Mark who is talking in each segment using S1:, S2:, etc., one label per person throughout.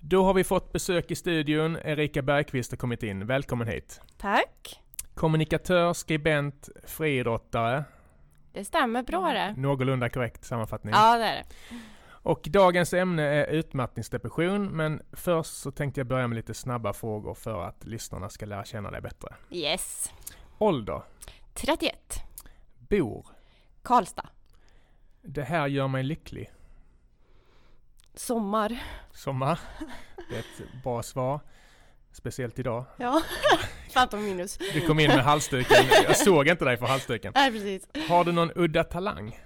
S1: Då har vi fått besök i studion. Erika Bergqvist har kommit in. Välkommen hit.
S2: Tack.
S1: Kommunikatör, skribent, friidrottare.
S2: Det stämmer bra det.
S1: Någorlunda korrekt sammanfattning.
S2: Ja, det är det.
S1: Och dagens ämne är utmattningsdepression, men först så tänkte jag börja med lite snabba frågor för att lyssnarna ska lära känna dig bättre.
S2: Yes.
S1: Ålder,
S2: 31.
S1: bor,
S2: Karlstad.
S1: det här gör mig lycklig.
S2: Sommar.
S1: Sommar, det är ett bra svar. Speciellt idag.
S2: Ja. Phantom minus.
S1: Du kom in med halsduken, jag såg inte dig för halsduken.
S2: Nej, precis.
S1: Har du någon udda talang?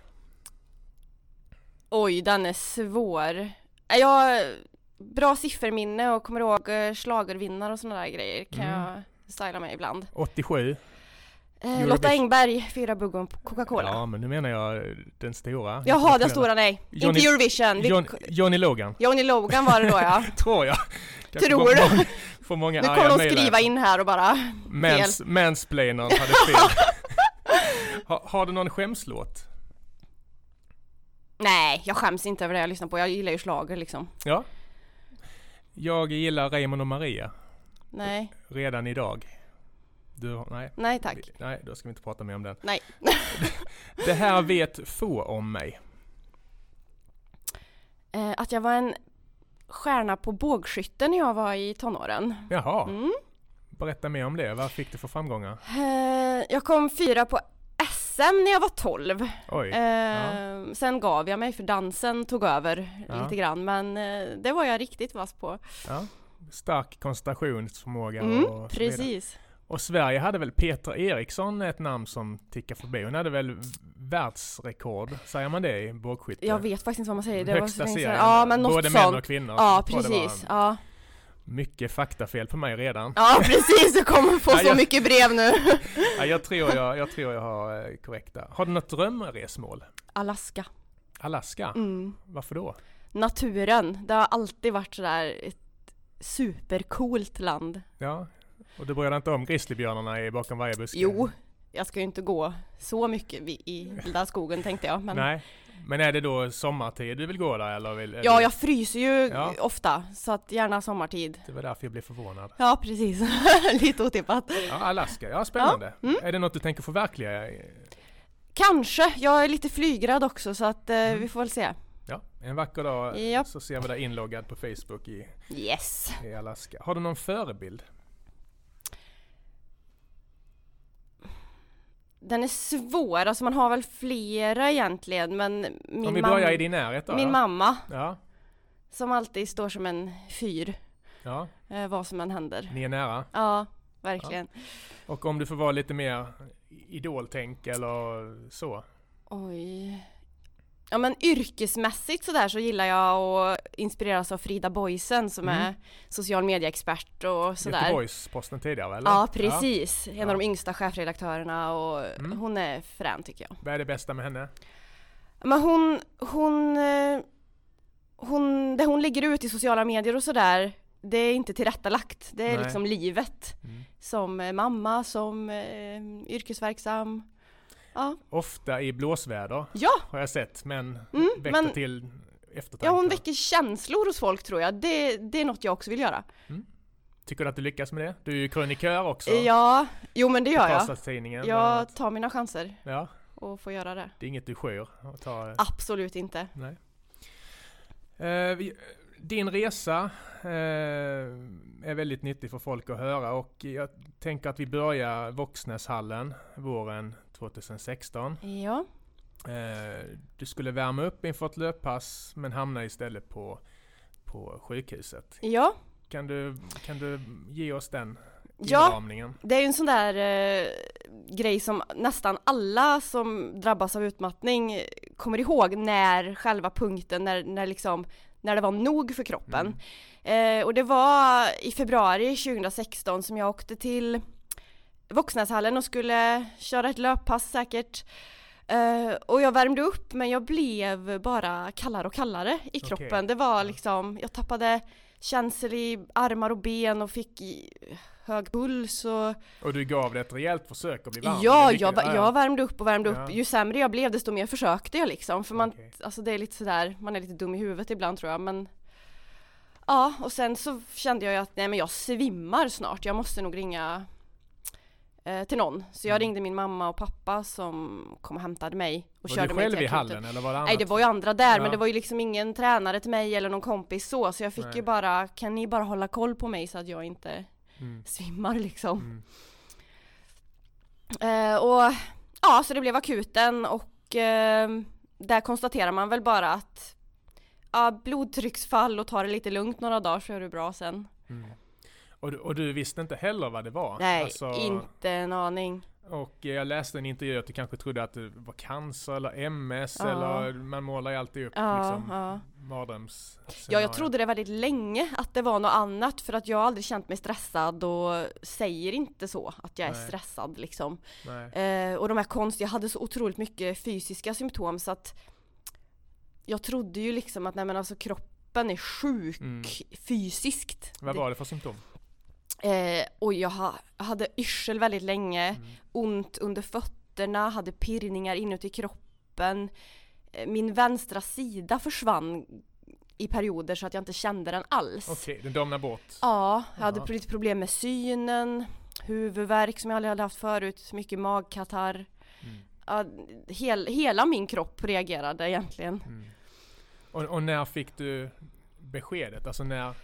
S2: Oj, den är svår. Äh, Jag har bra sifferminne och kommer ihåg eh, schlagervinnare och sådana där grejer. Kan
S1: Mm.
S2: jag styla mig ibland.
S1: 87?
S2: 87. Eh,
S1: Eurovision.
S2: Lotta Engberg, fyra bugg och en Coca-Cola.
S1: Ja, men nu menar jag eh, den stora.
S2: Jaha, den stora nej.
S1: Johnny-
S2: Inte Eurovision. Vi...
S1: John, Johnny Logan,
S2: Johnny Logan var det då ja.
S1: tror jag. Kanske
S2: Tror
S1: får-
S2: du?
S1: Får många
S2: Nu
S1: arga
S2: kommer de
S1: mejl här.
S2: skriva in här och bara
S1: Mans, mansplainern hade fel. ha, har du någon skämslåt?
S2: Nej, jag skäms inte över det jag lyssnar på. Jag gillar ju schlager liksom.
S1: Ja. Jag gillar Raymond och Maria
S2: Nej,
S1: redan idag. Du, har- nej,
S2: nej tack.
S1: nej, då ska vi inte prata mer om den.
S2: Nej.
S1: Det här vet få om mig.
S2: Eh, att jag var en stjärna på bågskytte när jag var i tonåren.
S1: Jaha,
S2: Mm.
S1: berätta mer om det. Vad fick du för framgångar?
S2: Eh, jag kom fyra på SM när jag var 12.
S1: Oj,
S2: Eh, Sen gav jag mig för dansen tog över
S1: Ja.
S2: lite grann men eh, det var jag riktigt vass på.
S1: stark koncentrationsförmåga och
S2: Mm,
S1: så vidare.
S2: precis.
S1: Och Sverige hade väl Petra Eriksson ett namn som tickar förbi. Hon hade väl världsrekord, säger man det i bågskytte?
S2: Jag vet faktiskt inte vad man säger. Det var så
S1: Högsta
S2: länge sedan.
S1: serien.
S2: Ja men något
S1: Både
S2: sånt.
S1: män och kvinnor.
S2: Ja
S1: tror jag det var.
S2: precis. Ja.
S1: Mycket faktafel på mig redan.
S2: ja precis, du kommer få
S1: Ja,
S2: så
S1: jag-
S2: mycket brev nu.
S1: Ja, jag, tror jag, jag tror jag har eh, korrekta. Har du något drömresmål?
S2: Alaska.
S1: Alaska?
S2: Mm.
S1: Varför då?
S2: Naturen, det har alltid varit sådär ett supercoolt land.
S1: Ja, och du bryr dig inte om grizzlybjörnarna i bakom varje buske?
S2: Jo, jag ska ju inte gå så mycket vi- i vilda skogen tänkte jag. Men...
S1: Nej, men är det då sommartid du vill gå där eller? Vill,
S2: Ja,
S1: eller-
S2: jag fryser ju
S1: Ja.
S2: ofta, så att gärna sommartid.
S1: Det var därför jag blev förvånad.
S2: Ja, precis. Lite otippat.
S1: Ja, Alaska, ja spännande.
S2: mm.
S1: Är det något du tänker förverkliga?
S2: Kanske, jag är lite flygrädd också så att eh,
S1: Mm.
S2: vi får väl se.
S1: Ja, en vacker dag
S2: Japp.
S1: så ser vi dig inloggad på Facebook i,
S2: Yes!
S1: i Alaska. Har du någon förebild?
S2: Den är svår, alltså man har väl flera egentligen men min,
S1: Om vi
S2: mam-
S1: börjar i din närhet då?
S2: min
S1: ja.
S2: mamma
S1: Ja,
S2: som alltid står som en fyr
S1: ja,
S2: eh, vad som än händer.
S1: ni är nära.
S2: Ja, verkligen.
S1: Och om du får vara lite mer idoltänk eller så?
S2: Oj. Ja men yrkesmässigt sådär så gillar jag att inspireras av Frida Boisen som
S1: Mm.
S2: är social medieexpert och sådär.
S1: Göteborgs-Posten tidigare eller?
S2: Ja precis, en
S1: Ja.
S2: av de yngsta chefredaktörerna och
S1: Mm.
S2: hon är frän tycker jag.
S1: Vad är det bästa med henne?
S2: Men hon, hon, eh, hon, det hon lägger ut i sociala medier och sådär, det är inte tillrättalagt. Det är
S1: Nej.
S2: liksom livet
S1: Mm.
S2: som eh, mamma, som eh, yrkesverksam. Ja,
S1: Ofta i blåsväder
S2: ja
S1: har jag sett, men
S2: Mm,
S1: väckte
S2: men-
S1: till eftertanke.
S2: Ja hon väcker känslor hos folk tror jag. Det, det är något jag också vill göra.
S1: Tycker du att du lyckas med det? Du är ju krönikör också.
S2: Ja, jo men det gör jag.
S1: Karlstadstidningen. bland annat.
S2: Jag tar mina chanser
S1: ja.
S2: och får göra det.
S1: Det är inget du skyr eh, att ta.
S2: Ah. Absolut inte.
S1: Nej. Eh, vi- din resa eh, är väldigt nyttig för folk att höra och jag tänker att vi börjar Våxnäshallen våren 2016.
S2: Ja,
S1: Eh, du skulle värma upp inför ett löppass men hamnade istället på, på sjukhuset.
S2: ja.
S1: Kan du, kan du ge oss den
S2: ja
S1: inramningen?
S2: det är ju en sån där eh, grej som nästan alla som drabbas av utmattning eh, kommer ihåg när själva punkten, när, när liksom när det var nog för kroppen. Eh, och det var i februari 2016 som jag åkte till Våxnäshallen och skulle köra ett löppass säkert. Eh, och jag värmde upp men jag blev bara kallare och kallare i kroppen. Det var liksom, jag tappade känsel i armar och ben och fick i- hög puls och
S1: Och du gav det ett rejält försök att bli varm?
S2: ja,
S1: Det är
S2: jag,
S1: viktigt.
S2: va- jag värmde upp och värmde upp.
S1: Ja.
S2: Ju sämre jag blev desto mer försökte jag liksom. För man,
S1: Okej.
S2: alltså det är lite sådär, man är lite dum i huvudet ibland tror jag men Ja, och sen så kände jag ju att nej men jag svimmar snart, jag måste nog ringa eh, till någon. Så jag
S1: Mm.
S2: ringde min mamma och pappa som kom och hämtade mig och
S1: Var
S2: körde
S1: du
S2: mig
S1: själv
S2: till
S1: i
S2: akuten.
S1: hallen eller var det annat?
S2: Nej det var ju andra där
S1: Ja.
S2: men det var ju liksom ingen tränare till mig eller någon kompis så, så jag fick
S1: Nej.
S2: ju bara, kan ni bara hålla koll på mig så att jag inte
S1: Mm.
S2: svimmar liksom.
S1: Mm.
S2: Eh, och ja, så det blev akuten och ehm, där konstaterar man väl bara att ja, blodtrycksfall och ta det lite lugnt några dagar så är du bra sen.
S1: Mm. Och, du, och du visste inte heller vad det var?
S2: Nej,
S1: Alltså,
S2: inte en aning.
S1: Och eh, jag läste en intervju att du kanske trodde att det var cancer eller MS
S2: Ja.
S1: eller man målar ju alltid upp
S2: Ja,
S1: liksom
S2: ja.
S1: mardröms...
S2: Ja, jag trodde det väldigt länge att det var något annat för att jag har aldrig känt mig stressad och säger inte så att jag är
S1: Nej.
S2: stressad liksom.
S1: Nej.
S2: Eh, och de här konstiga, jag hade så otroligt mycket fysiska symptom så att jag trodde ju liksom att nej men alltså kroppen är sjuk
S1: Mm.
S2: fysiskt.
S1: Vad
S2: Det-
S1: var det för symptom?
S2: Eh, och jag ha, hade yrsel väldigt länge,
S1: Mm.
S2: ont under fötterna, hade pirrningar inuti kroppen. Eh, Min vänstra sida försvann i perioder så att jag inte kände den alls.
S1: Okej, den domnar bort.
S2: Ja, jag hade
S1: Jaha.
S2: lite problem med synen, huvudvärk som jag aldrig hade haft förut, mycket magkatarr.
S1: Mm.
S2: Ja, hel, hela min kropp reagerade egentligen.
S1: Mm. Och, och när fick du beskedet? Alltså när...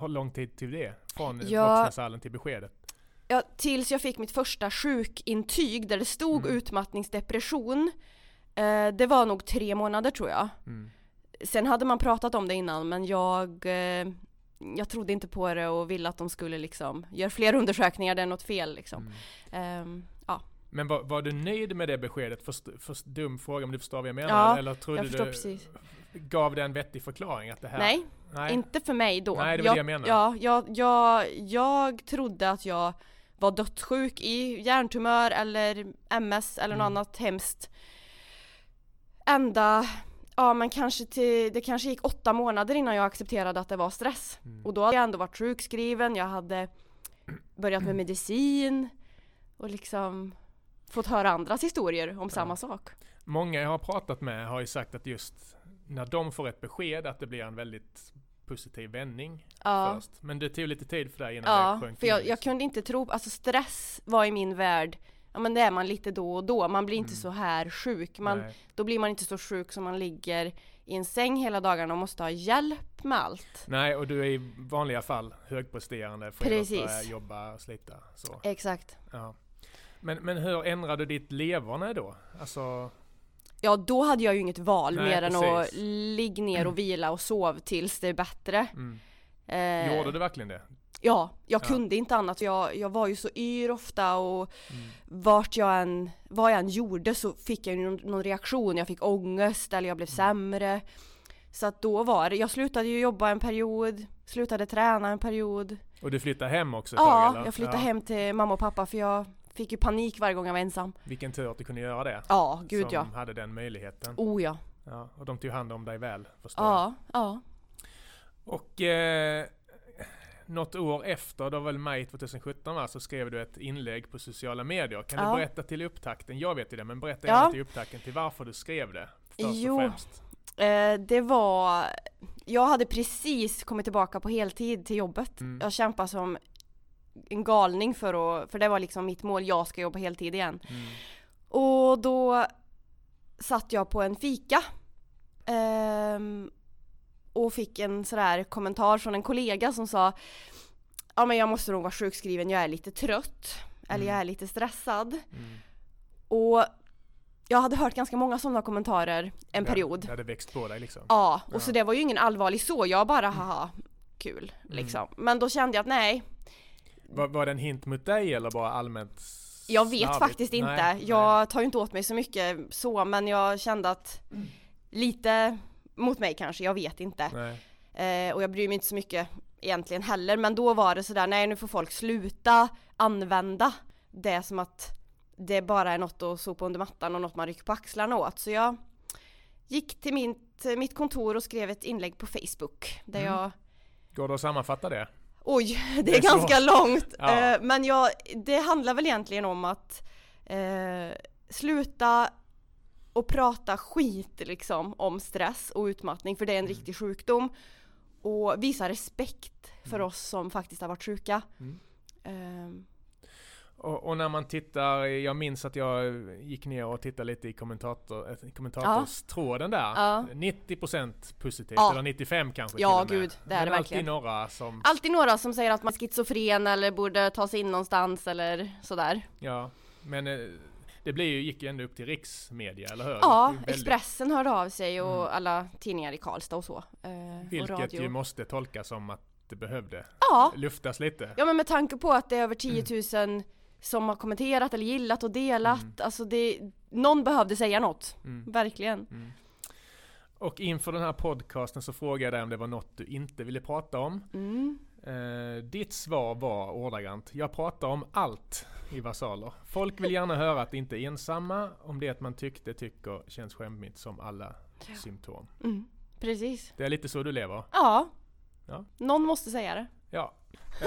S1: Hur lång tid till det? Från
S2: Ja.
S1: Voxnäshallen till beskedet?
S2: Ja, tills jag fick mitt första sjukintyg där det stod
S1: Mm.
S2: utmattningsdepression. Eh, det var nog tre månader tror jag.
S1: Mm.
S2: Sen hade man pratat om det innan men jag, eh, jag trodde inte på det och ville att de skulle liksom göra fler undersökningar, det är något fel liksom.
S1: Mm.
S2: Ehm, ja,
S1: Men var, var du nöjd med det beskedet? Först, först, dum fråga om du förstår vad jag menar?
S2: Ja,
S1: eller trodde
S2: jag förstår
S1: du...
S2: precis.
S1: Gav det en vettig förklaring att det här...
S2: Nej,
S1: Nej.
S2: inte för mig då.
S1: Nej, det var
S2: jag,
S1: det jag menade.
S2: Ja, jag, jag, jag trodde att jag var dödssjuk i hjärntumör eller MS eller något
S1: Mm.
S2: annat hemskt. Ända, ja men kanske till, det kanske gick åtta månader innan jag accepterade att det var stress.
S1: Mm.
S2: Och då hade jag ändå varit sjukskriven, jag hade börjat
S1: Mm.
S2: med medicin och liksom fått höra andras historier om samma sak.
S1: Många jag har pratat med har ju sagt att just när de får ett besked att det blir en väldigt positiv vändning
S2: Ja,
S1: först. Men det tog lite tid för dig innan
S2: ja
S1: det sjönk
S2: för
S1: in,
S2: jag, jag
S1: liksom.
S2: kunde inte tro, alltså stress var i min värld, ja men det är man lite då och då, man blir inte
S1: Mm.
S2: så här sjuk. Man,
S1: Nej.
S2: då blir man inte så sjuk som man ligger i en säng hela dagarna och måste ha hjälp med allt.
S1: Nej, och du är i vanliga fall högpresterande, friidrottare,
S2: Precis.
S1: jobba, slita. Så.
S2: Exakt.
S1: Ja. Men, men hur ändrade du ditt leverne då? Alltså,
S2: Ja, då hade jag ju inget val
S1: Nej,
S2: mer än att
S1: precis.
S2: ligga ner och vila och sov tills det är bättre.
S1: mm.
S2: Eh,
S1: gjorde du verkligen det?
S2: Ja, jag
S1: Ja.
S2: kunde inte annat. Jag, jag var ju så yr ofta och
S1: Mm.
S2: vart jag än, vad jag än gjorde så fick jag ju någon, någon reaktion. Jag fick ångest eller jag blev sämre. Så att då var det, jag slutade ju jobba en period, slutade träna en period.
S1: Och du flyttade hem också ett tag,
S2: Ja,
S1: eller?
S2: jag flyttade hem till mamma och pappa för jag fick ju panik varje gång jag var ensam.
S1: Vilken tur att du kunde göra det.
S2: Ja, gud
S1: som
S2: ja.
S1: hade den möjligheten.
S2: Oh ja.
S1: Ja, och de tog hand om dig väl, förstår jag.
S2: Ja, ja.
S1: Och eh, något år efter, det var väl maj 2017 va, så skrev du ett inlägg på sociala medier. Kan
S2: Ja.
S1: du berätta till upptakten, jag vet ju det, men berätta
S2: Ja.
S1: gärna till upptakten till varför du skrev det. Först
S2: Jo.
S1: och främst.
S2: Eh, det var, jag hade precis kommit tillbaka på heltid till jobbet.
S1: Mm.
S2: Jag kämpade som en galning för att, för det var liksom mitt mål, jag ska jobba heltid igen.
S1: Mm.
S2: Och då satt jag på en fika. ehm, och fick en sådär kommentar från en kollega som sa Ja men jag måste nog vara sjukskriven, jag är lite trött. Eller jag är lite stressad.
S1: Mm.
S2: Och jag hade hört ganska många sådana kommentarer en
S1: Där-
S2: period.
S1: Där det hade växt på dig liksom.
S2: Ja, och så
S1: Ja.
S2: det var ju ingen allvarlig så, jag bara haha, kul
S1: Mm.
S2: liksom. Men då kände jag att nej,
S1: Var, var det en hint mot dig eller bara allmänt
S2: jag vet
S1: slarvigt?
S2: faktiskt inte.
S1: Nej,
S2: jag tar ju inte åt mig så mycket så, men jag kände att lite mot mig kanske, jag vet inte.
S1: Nej, nej.
S2: Eh, och jag bryr mig inte så mycket egentligen heller, men då var det sådär, nej nu får folk sluta använda det som att det bara är något att sopa under mattan och något man rycker på axlarna åt. Så jag gick till mitt, mitt kontor och skrev ett inlägg på Facebook där
S1: Mm.
S2: jag
S1: Går det att sammanfatta det?
S2: Oj, det är,
S1: Det är
S2: ganska långt.
S1: Ja.
S2: Eh, Men jag, det handlar väl egentligen om att eh, sluta
S1: Mm.
S2: och prata skit liksom om stress och utmattning för det är en riktig sjukdom. och visa respekt för
S1: Mm.
S2: oss som faktiskt har varit sjuka.
S1: Mm.
S2: Ehm,
S1: Och, och när man tittar, jag minns att jag gick ner och tittade lite i kommentator, eh, kommentatorstråden där.
S2: Ja.
S1: 90% positivt,
S2: Ja.
S1: eller 95 kanske
S2: Ja,
S1: till och med.
S2: gud, det är
S1: Men
S2: det verkligen. Ah.
S1: alltid några som,
S2: Alltid några som säger att man är schizofren eller borde ta sig in någonstans eller sådär.
S1: ja. Men eh, det blir ju, gick ju ändå upp till riksmedia, eller hur?
S2: Ja,
S1: Det är väldigt-
S2: Expressen hörde av sig och
S1: Mm.
S2: alla tidningar i Karlstad och så. eh, och
S1: Vilket
S2: radio.
S1: ju måste tolkas som att det behövde
S2: Ja,
S1: luftas lite.
S2: ja men med tanke på att det är över 10 000 som har kommenterat eller gillat och delat. Alltså det, någon behövde säga något.
S1: Mm.
S2: Verkligen.
S1: Och inför den här podcasten så frågade jag dig om det var något du inte ville prata om.
S2: Mm.
S1: Eh, ditt svar var ordagrant, jag pratar om allt i Vasaler. Folk vill gärna höra att de inte är ensamma, om det man tyckte, tycker, känns skämmigt som alla symptom.
S2: Mm. Precis.
S1: Det är lite så du lever.
S2: Ja.
S1: Ja.
S2: Någon måste säga det.
S1: Ja.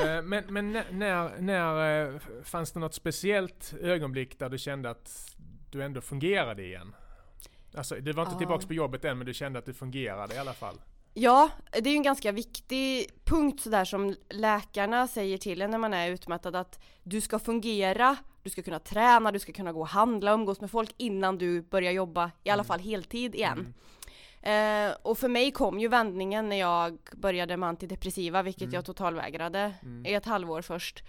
S1: Eh, Men, men när, när, när eh, fanns det något speciellt ögonblick där du kände att du ändå fungerade igen? Alltså, du var inte
S2: Ah.
S1: tillbaka på jobbet än, men du kände att du fungerade i alla fall.
S2: Ja, det är ju en ganska viktig punkt sådär som läkarna säger till en när man är utmattad att du ska fungera, du ska kunna träna, du ska kunna gå och handla, umgås med folk innan du börjar jobba, i alla fall heltid
S1: Mm.
S2: igen. Eh, och för mig kom ju vändningen när jag började med antidepressiva, vilket jag totalvägrade
S1: Mm.
S2: i ett halvår först.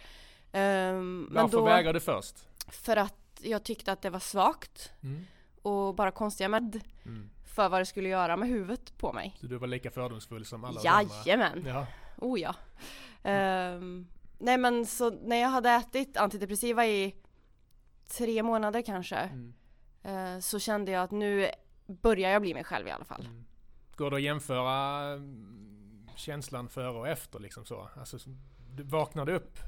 S2: Ehm, men
S1: Varför
S2: då,
S1: vägrade du först?
S2: för att jag tyckte att det var svagt
S1: Mm.
S2: och bara konstiga med
S1: Mm.
S2: för vad det skulle göra med huvudet på mig.
S1: Så du var lika fördomsfull som alla de andra?
S2: Jajamän!
S1: Ja.
S2: Oh ja. Ehm, nej men så när jag hade ätit antidepressiva i tre månader kanske
S1: Mm.
S2: eh, så kände jag att nu börjar jag bli mig själv i alla fall.
S1: Mm. Går det att jämföra mm, känslan före och efter liksom så? Alltså, så- du vaknade upp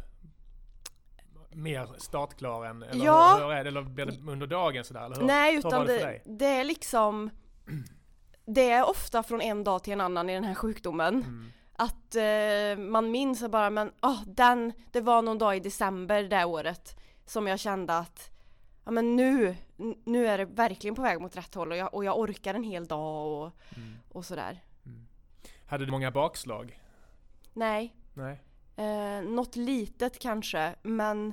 S1: mer startklar än, eller
S2: Ja. Mm.
S1: hur, hur är det? Eller blir det under dagen sådär? Eller hur?
S2: Nej
S1: hur
S2: utan
S1: var det för
S2: det,
S1: dig?
S2: det är liksom det är ofta från en dag till en annan i den här sjukdomen.
S1: Mm.
S2: Att eh, man minns att bara men ah den, det var någon dag i december det året som jag kände att ja men nu, n- nu är det verkligen på väg mot rätt håll och jag, och jag orkar en hel dag och,
S1: Mm.
S2: och sådär.
S1: Hade du många bakslag?
S2: Nej,
S1: Nej.
S2: eh, något litet kanske men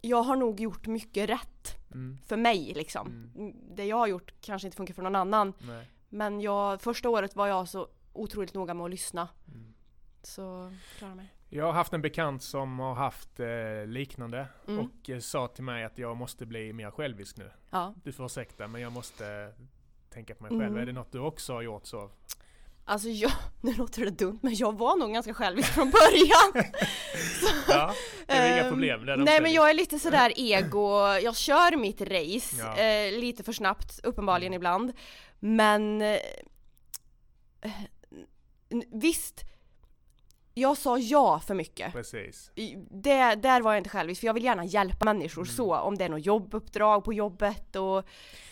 S2: jag har nog gjort mycket rätt
S1: Mm.
S2: för mig liksom. Det jag har gjort kanske inte funkar för någon annan
S1: Nej.
S2: men jag, första året var jag så otroligt noga med att lyssna.
S1: Mm.
S2: Så klara mig.
S1: Jag har haft en bekant som har haft eh, liknande
S2: Mm.
S1: och eh, sa till mig att jag måste bli mer självisk nu.
S2: Ja.
S1: Du får ursäkta men jag måste tänka på mig
S2: Mm.
S1: själv. Är det något du också har gjort så?
S2: Alltså jag, nu låter det dumt men jag var nog ganska självisk från början.
S1: Ja, det är inga
S2: Ehm,
S1: problem. Det är
S2: Nej men
S1: omställning.
S2: jag är lite sådär ego, jag kör mitt race
S1: Ja. Mm.
S2: eh, lite för snabbt uppenbarligen ibland. Men eh, n- visst, jag sa ja för mycket.
S1: Precis.
S2: I- Det, där var jag inte självisk för jag vill gärna hjälpa människor
S1: Mm.
S2: så om det är något jobbuppdrag på jobbet och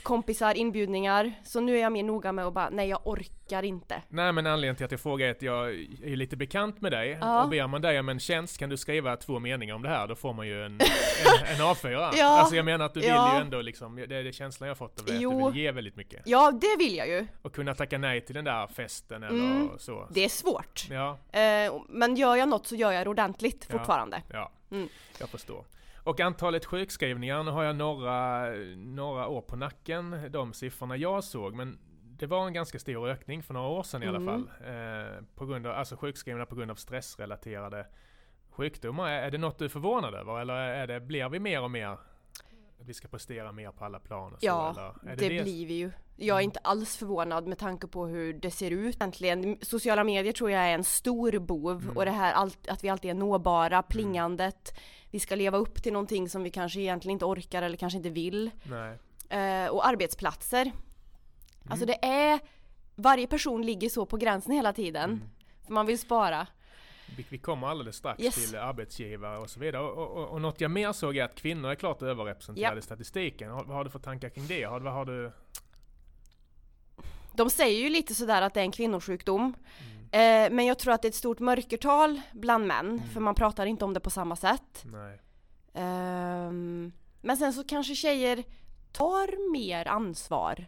S2: kompisar, inbjudningar. Så nu är jag mer noga med att bara nej jag orkar inte.
S1: Nej men anledningen till att jag frågar är att jag är lite bekant med dig
S2: Ja.
S1: och ber man dig om en tjänst kan du skriva två meningar om det här då får man ju en, en, en A4.
S2: Ja.
S1: Alltså jag menar att du vill
S2: Ja.
S1: ju ändå liksom, det är det känslan jag har fått av dig, att
S2: Jo.
S1: du vill ge väldigt mycket.
S2: Ja det vill jag ju.
S1: Och kunna tacka nej till den där festen eller
S2: Mm.
S1: så.
S2: Det är svårt.
S1: Ja,
S2: Eh, och- men gör jag något så gör jag det ordentligt
S1: Ja.
S2: fortfarande.
S1: ja.
S2: Mm.
S1: Jag förstår. Och antalet sjukskrivningar, nu har jag några, några år på nacken, de siffrorna jag såg, men det var en ganska stor ökning för några år sedan i alla
S2: Mm.
S1: fall. Eh, på grund av, alltså sjukskrivningar på grund av stressrelaterade sjukdomar. Är, är det något du är förvånad över eller är det, blir vi mer och mer att vi ska prestera mer på alla plan? Och så,
S2: Ja,
S1: eller?
S2: det,
S1: Är det, Mm. det?
S2: blir vi ju. Jag är inte alls förvånad med tanke på hur det ser ut egentligen. Sociala medier tror jag är en stor bov
S1: Mm.
S2: och det här allt, att vi alltid är nåbara, plingandet. Vi ska leva upp till någonting som vi kanske egentligen inte orkar eller kanske inte vill.
S1: Nej.
S2: Eh, och arbetsplatser. Alltså det är, varje person ligger så på gränsen hela tiden.
S1: Mm.
S2: För man vill spara.
S1: Vi, vi kommer alldeles strax
S2: Yes.
S1: till arbetsgivare och så vidare. Och, och, och något jag mer såg är att kvinnor är klart överrepresenterade i
S2: Japp.
S1: statistiken. Har, vad har du för tankar kring det? Har, vad har du...
S2: De säger ju lite sådär att det är en kvinnosjukdom.
S1: Mm,
S2: Eh, men jag tror att det är ett stort mörkertal bland män, för man pratar inte om det på samma sätt.
S1: Nej.
S2: Ehm, men sen så kanske tjejer tar mer ansvar.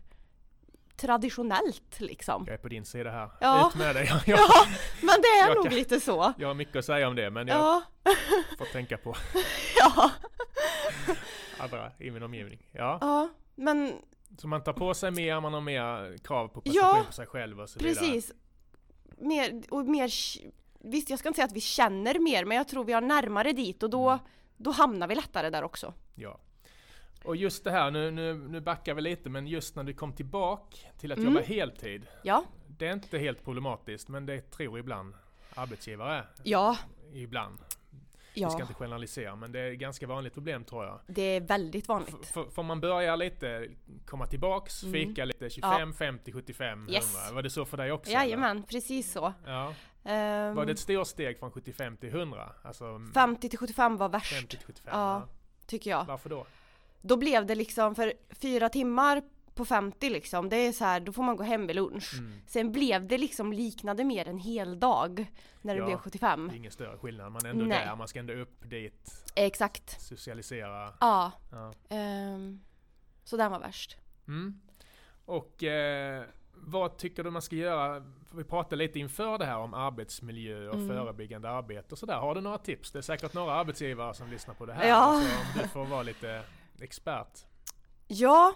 S2: traditionellt liksom.
S1: Jag är på din sida här.
S2: Ja.
S1: Ut med dig. Jag, jag,
S2: Ja, men det är
S1: Jag
S2: nog
S1: kan-
S2: lite så.
S1: jag har mycket att säga om det men jag
S2: Ja,
S1: får tänka på
S2: ja,
S1: andra i min omgivning. Ja.
S2: ja, men
S1: Så man tar på sig mer, man har mer krav på prestation
S2: Ja,
S1: på sig själv och så vidare.
S2: Precis. Mer, och mer, k- visst, jag ska inte säga att vi känner mer, men jag tror vi har närmare dit och då,
S1: Mm.
S2: då hamnar vi lättare där också.
S1: Ja. Och just det här, nu, nu, nu backar vi lite, men just när du kom tillbaka till att
S2: Mm.
S1: jobba heltid.
S2: Ja,
S1: Det är inte helt problematiskt, men det tror ibland arbetsgivare.
S2: ja,
S1: Ibland. Vi ska
S2: ja.
S1: inte generalisera, men det är ett ganska vanligt problem tror jag.
S2: Det är väldigt vanligt.
S1: F- f- får man börja lite, komma tillbaks,
S2: Mm.
S1: fika lite 25, 50, 75,
S2: Yes.
S1: 100. Var det så för dig också? eller?
S2: Jajamän, precis så.
S1: Ja.
S2: Ehm,
S1: Var det ett stort steg från 75 till 100? Alltså
S2: 50 till 75 var värst,
S1: 50 till 75?
S2: Ja.
S1: Ja.
S2: tycker jag.
S1: Varför då?
S2: Då blev det liksom för fyra timmar på 50 liksom, det är så här, då får man gå hem vid lunch.
S1: Mm.
S2: Sen blev det liksom liknade mer en hel dag när det
S1: Ja.
S2: blev 75.
S1: Det är ingen större skillnad, man är ändå
S2: Nej.
S1: där, man ska ändå upp dit,
S2: Exakt.
S1: socialisera.
S2: Ja.
S1: Ja.
S2: Ehm, så den var värst.
S1: Mm. Och eh, vad tycker du man ska göra? För Vi pratade lite inför det här om arbetsmiljö och
S2: Mm.
S1: förebyggande arbete och sådär. Har du några tips? Det är säkert några arbetsgivare som lyssnar på det här.
S2: Ja.
S1: Så om du får vara lite expert.
S2: Ja,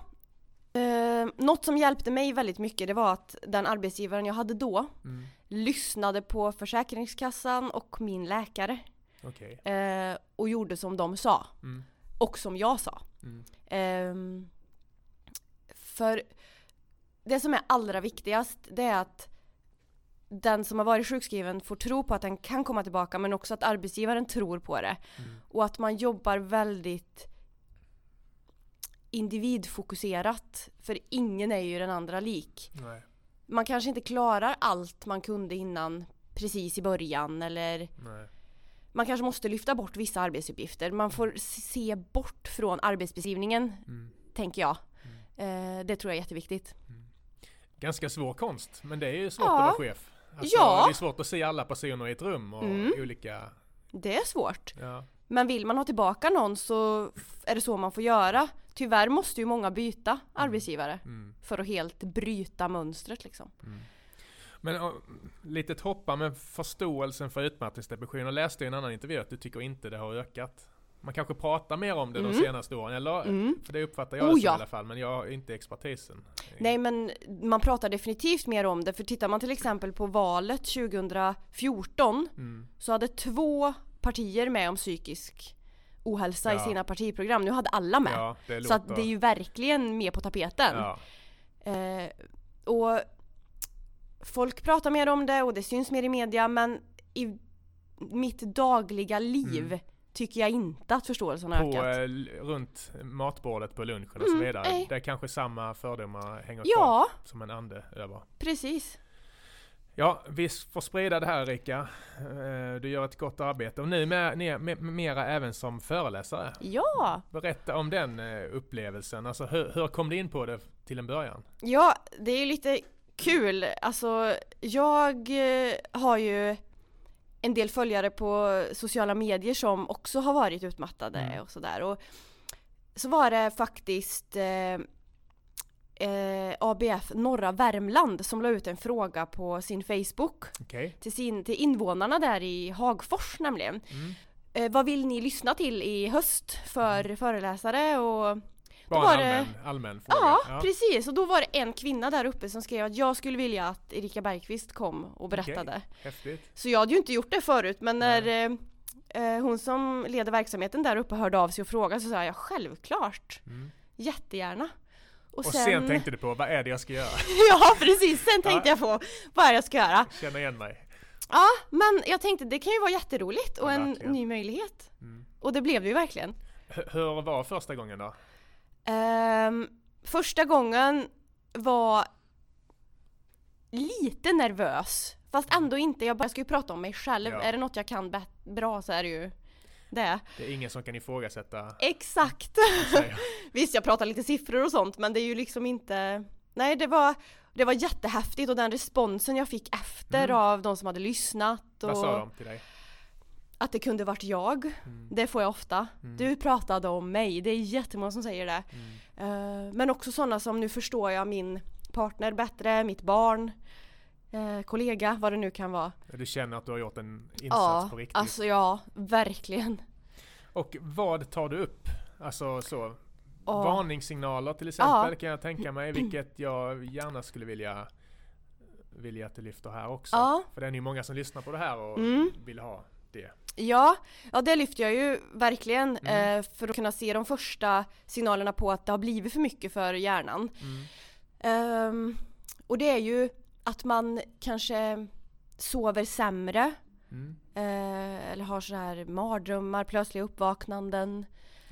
S2: eh, något som hjälpte mig väldigt mycket det var att den arbetsgivaren jag hade då
S1: Mm.
S2: lyssnade på Försäkringskassan och min läkare
S1: Okej.
S2: eh, och gjorde som de sa
S1: Mm.
S2: och som jag sa.
S1: Mm.
S2: Ehm, för det som är allra viktigast det är att den som har varit sjukskriven får tro på att den kan komma tillbaka men också att arbetsgivaren tror på det.
S1: Mm.
S2: Och att man jobbar väldigt individfokuserat. För ingen är ju den andra lik.
S1: Nej.
S2: Man kanske inte klarar allt man kunde innan precis i början eller
S1: Nej.
S2: man kanske måste lyfta bort vissa arbetsuppgifter. Man får se bort från arbetsbeskrivningen
S1: Mm.
S2: tänker jag. Eh, det tror jag är jätteviktigt.
S1: Ganska svår konst, men det är ju svårt
S2: Ja.
S1: att vara chef. Alltså,
S2: Ja.
S1: Det är svårt att se alla personer i ett rum och
S2: Mm.
S1: olika...
S2: Det är svårt.
S1: Ja.
S2: Men vill man ha tillbaka någon så f- är det så man får göra. Tyvärr måste ju många byta arbetsgivare
S1: Mm.
S2: för att helt bryta mönstret liksom.
S1: Men och, litet hoppa, men förståelsen för utmattningsdepression. Jag läste i en annan intervju att du tycker inte det har ökat. Man kanske pratar mer om det de
S2: Mm.
S1: senaste åren, eller?
S2: Mm.
S1: För det uppfattar jag
S2: Oh,
S1: det som
S2: ja.
S1: i alla fall, men jag är inte expertisen.
S2: Nej men man pratar definitivt mer om det för tittar man till exempel på valet 2014
S1: Mm.
S2: så hade två partier med om psykisk ohälsa i
S1: Ja.
S2: sina partiprogram. Nu hade alla med.
S1: Ja, det låter...
S2: så att det är ju verkligen med på tapeten.
S1: Ja.
S2: Eh, och folk pratar mer om det och det syns mer i media men i mitt dagliga liv
S1: Mm.
S2: tycker jag inte att förståelsen har
S1: På,
S2: ökat.
S1: eh, l- runt matbordet på lunchen och
S2: Mm,
S1: så vidare.
S2: nej.
S1: Där kanske samma fördomar hänger kvar
S2: Ja,
S1: som en ande över.
S2: precis.
S1: Ja, vi får sprida det här Erika. Eh, Du gör ett gott arbete och nu med, med, med, mera även som föreläsare.
S2: Ja.
S1: Berätta om den eh, upplevelsen. Alltså, hur, hur kom du in på det till en början?
S2: Ja, det är ju lite kul. Alltså, jag eh, har ju en del följare på sociala medier som också har varit utmattade
S1: Mm.
S2: och sådär. Och så var det faktiskt eh, eh, ABF Norra Värmland som la ut en fråga på sin Facebook
S1: Okej.
S2: till, sin, till invånarna där i Hagfors nämligen.
S1: Mm.
S2: Eh, vad vill ni lyssna till i höst
S1: Mm.
S2: för föreläsare och
S1: Bara
S2: var
S1: en
S2: det-
S1: allmän, allmän fråga.
S2: Ja, precis. Och då var det en kvinna där uppe som skrev att jag skulle vilja att Erika Bergqvist kom och berättade.
S1: Häftigt.
S2: Så jag hade ju inte gjort det förut men när
S1: Nej.
S2: eh, eh, hon som leder verksamheten där uppe hörde av sig och frågade så sa jag självklart,
S1: Mm.
S2: jättegärna. Och,
S1: Och sen... tänkte du på, vad är det jag ska göra?
S2: Ja precis, sen tänkte jag på vad är det jag ska göra.
S1: Känner igen mig.
S2: Ja, men jag tänkte det kan ju vara jätteroligt och
S1: Ja,
S2: en
S1: verkligen.
S2: ny möjlighet.
S1: Mm.
S2: Och det blev det ju verkligen.
S1: H- hur var första gången då?
S2: Ehm, första gången var lite nervös. Fast ändå inte. Jag, bara, jag ska ju prata om mig själv.
S1: Mm. Ja.
S2: Är det något jag kan bä- bra så är det ju det.
S1: Det är ingen som kan ifrågasätta
S2: Exakt!
S1: sig.
S2: Visst, jag pratar lite siffror och sånt men det är ju liksom inte... Nej, det var, det var jättehäftigt och den responsen jag fick efter
S1: Mm.
S2: av de som hade lyssnat
S1: Vad sa
S2: och
S1: de till dig?
S2: att det kunde varit jag.
S1: Mm.
S2: Det får jag ofta.
S1: Mm.
S2: Du pratade om mig. Det är jättemånga som säger det.
S1: Mm.
S2: Eh, Men också sådana som nu förstår jag min partner bättre, mitt barn, eh, kollega, vad det nu kan vara.
S1: Du känner att du har gjort en insats
S2: Ja,
S1: på riktigt.
S2: alltså ja, verkligen.
S1: Och vad tar du upp? Alltså så,
S2: Ja.
S1: varningssignaler till exempel kan jag tänka mig, vilket jag gärna skulle vilja, vilja att du lyfter här också.
S2: Ja.
S1: För det är ju många som lyssnar på det här och
S2: Mm.
S1: vill ha det.
S2: Ja, ja det lyfter jag ju verkligen
S1: Mm.
S2: eh, för att kunna se de första signalerna på att det har blivit för mycket för hjärnan.
S1: Mm.
S2: Ehm, och det är ju att man kanske sover sämre
S1: Mm.
S2: eh, eller har så här mardrömmar, plötsliga uppvaknanden.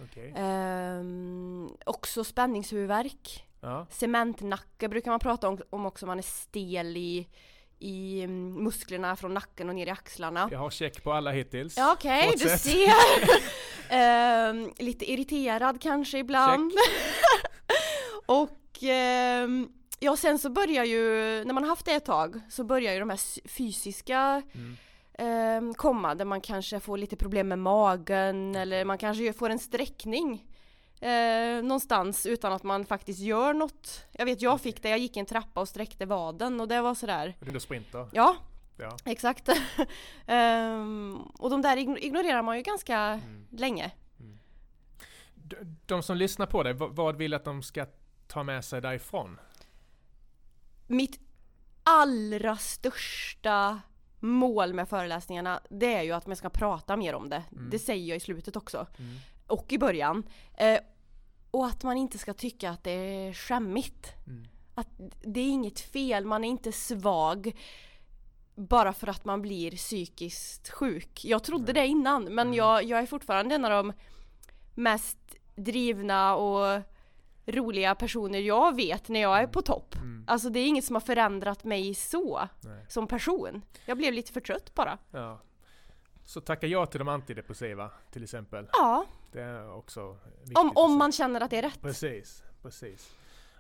S1: Okej.
S2: Eh. Ehm, också spänningshuvudvärk.
S1: Ja.
S2: Cementnacke brukar man prata om, om också om man är stel i, i mm, musklerna från nacken och ner i axlarna.
S1: Jag har check på alla hittills.
S2: Ja okej, du
S1: Fortsätt.
S2: ser! Ehm, lite irriterad kanske ibland. och ehm, ja, sen så börjar ju, när man har haft det ett tag, så börjar ju de här s- fysiska
S1: Mm.
S2: ehm, komma, där man kanske får lite problem med magen eller man kanske ju får en sträckning. Eh, någonstans utan att man faktiskt gör något. Jag vet jag fick det, jag gick i en trappa och sträckte vaden och det var sådär,
S1: Och Du sprinter.
S2: ja
S1: Ja.
S2: Exakt. Ehm, och de där igno- ignorerar man ju ganska länge.
S1: D- De som lyssnar på dig, v- vad vill att de ska ta med sig därifrån?
S2: Mitt allra största mål med föreläsningarna det är ju att man ska prata mer om det. Det säger jag i slutet också. Och i början. Eh, och att man inte ska tycka att det är skämmigt.
S1: Mm.
S2: Att det är inget fel, man är inte svag bara för att man blir psykiskt sjuk. Jag trodde det innan men jag, jag är fortfarande en av de mest drivna och roliga personer jag vet när jag är på topp. Alltså det är inget som har förändrat mig så
S1: Mm, Nej.
S2: som person. Jag blev lite för trött bara.
S1: Ja. Så tacka ja till de antidepressiva till exempel.
S2: Ja,
S1: Det är också viktigt.
S2: om,
S1: att
S2: om
S1: säga.
S2: man känner att det är rätt.
S1: Precis, precis.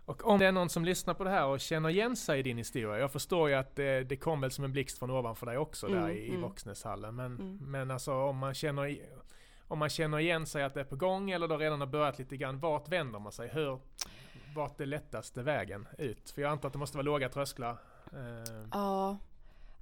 S1: Och om det är någon som lyssnar på det här och känner igen sig i din historia. Jag förstår ju att eh, det, det kom väl som en blixt från ovanför dig också där
S2: Mm,
S1: i, i
S2: mm.
S1: Våxnäshallen. Men,
S2: Mm.
S1: men alltså om man, känner, i- om man känner igen sig att det är på gång eller då redan har börjat lite grann. Vart vänder man sig? Hur, vart är lättaste vägen ut? För jag antar att det måste vara låga trösklar. Eh,
S2: Ja,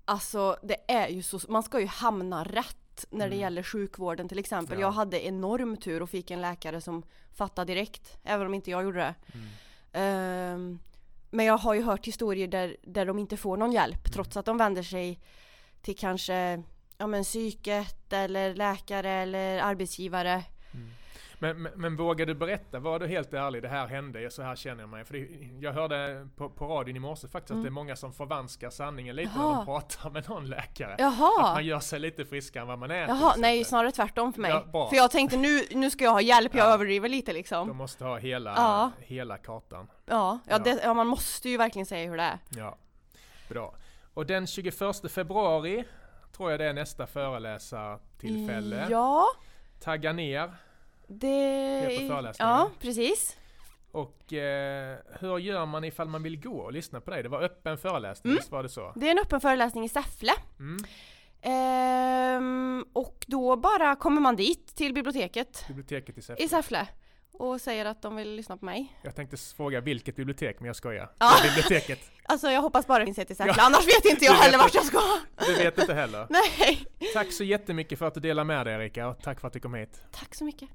S2: alltså det är ju så, man ska ju hamna rätt när det gäller sjukvården till exempel.
S1: Ja.
S2: Jag hade enorm tur och fick en läkare som fattade direkt, även om inte jag gjorde det.
S1: mm.
S2: Ehm, men jag har ju hört historier där, där de inte får någon hjälp trots att de vänder sig till kanske ja, men psyket eller läkare eller arbetsgivare.
S1: Mm. Men, men, men vågar du berätta? Var du helt ärlig? Det här hände, så här känner jag mig. För det, jag hörde på, på radion i morse faktiskt att det är många som förvanskar sanningen lite när de
S2: Mm. Jaha.
S1: pratar med någon läkare. Att man
S2: Jaha!
S1: gör sig lite friskare än vad man är. till
S2: Jaha,
S1: exempel.
S2: nej snarare tvärtom för mig.
S1: Ja, bra.
S2: för jag tänkte nu, nu ska jag ha hjälp, jag
S1: Ja.
S2: överdriver lite liksom.
S1: De måste ha hela,
S2: Ja.
S1: hela kartan.
S2: Ja, ja,
S1: Ja.
S2: det, ja man måste ju verkligen säga hur det är.
S1: Ja, bra. Och den 21 februari tror jag det är nästa föreläsartillfälle.
S2: Ja,
S1: Tagga ner.
S2: det...
S1: Det är på föreläsningen.
S2: ja, precis.
S1: Och eh, hur gör man ifall man vill gå och lyssna på dig? Det var öppen föreläsning,
S2: Mm.
S1: visst var det så?
S2: Det är en öppen föreläsning i Säffle.
S1: Mm.
S2: Ehm, och då bara kommer man dit till biblioteket
S1: Biblioteket i Säffle.
S2: i Säffle och säger att de vill lyssna på mig.
S1: Jag tänkte s- fråga vilket bibliotek, men jag skojar.
S2: Ja.
S1: Det är Biblioteket.
S2: Alltså jag hoppas bara det finns ett i Säffle,
S1: Ja.
S2: annars vet inte jag
S1: Du vet
S2: heller vart
S1: inte.
S2: jag ska.
S1: Du vet inte heller.
S2: Nej.
S1: Tack så jättemycket för att du delar med dig Erika och tack för att du kom hit.
S2: Tack så mycket.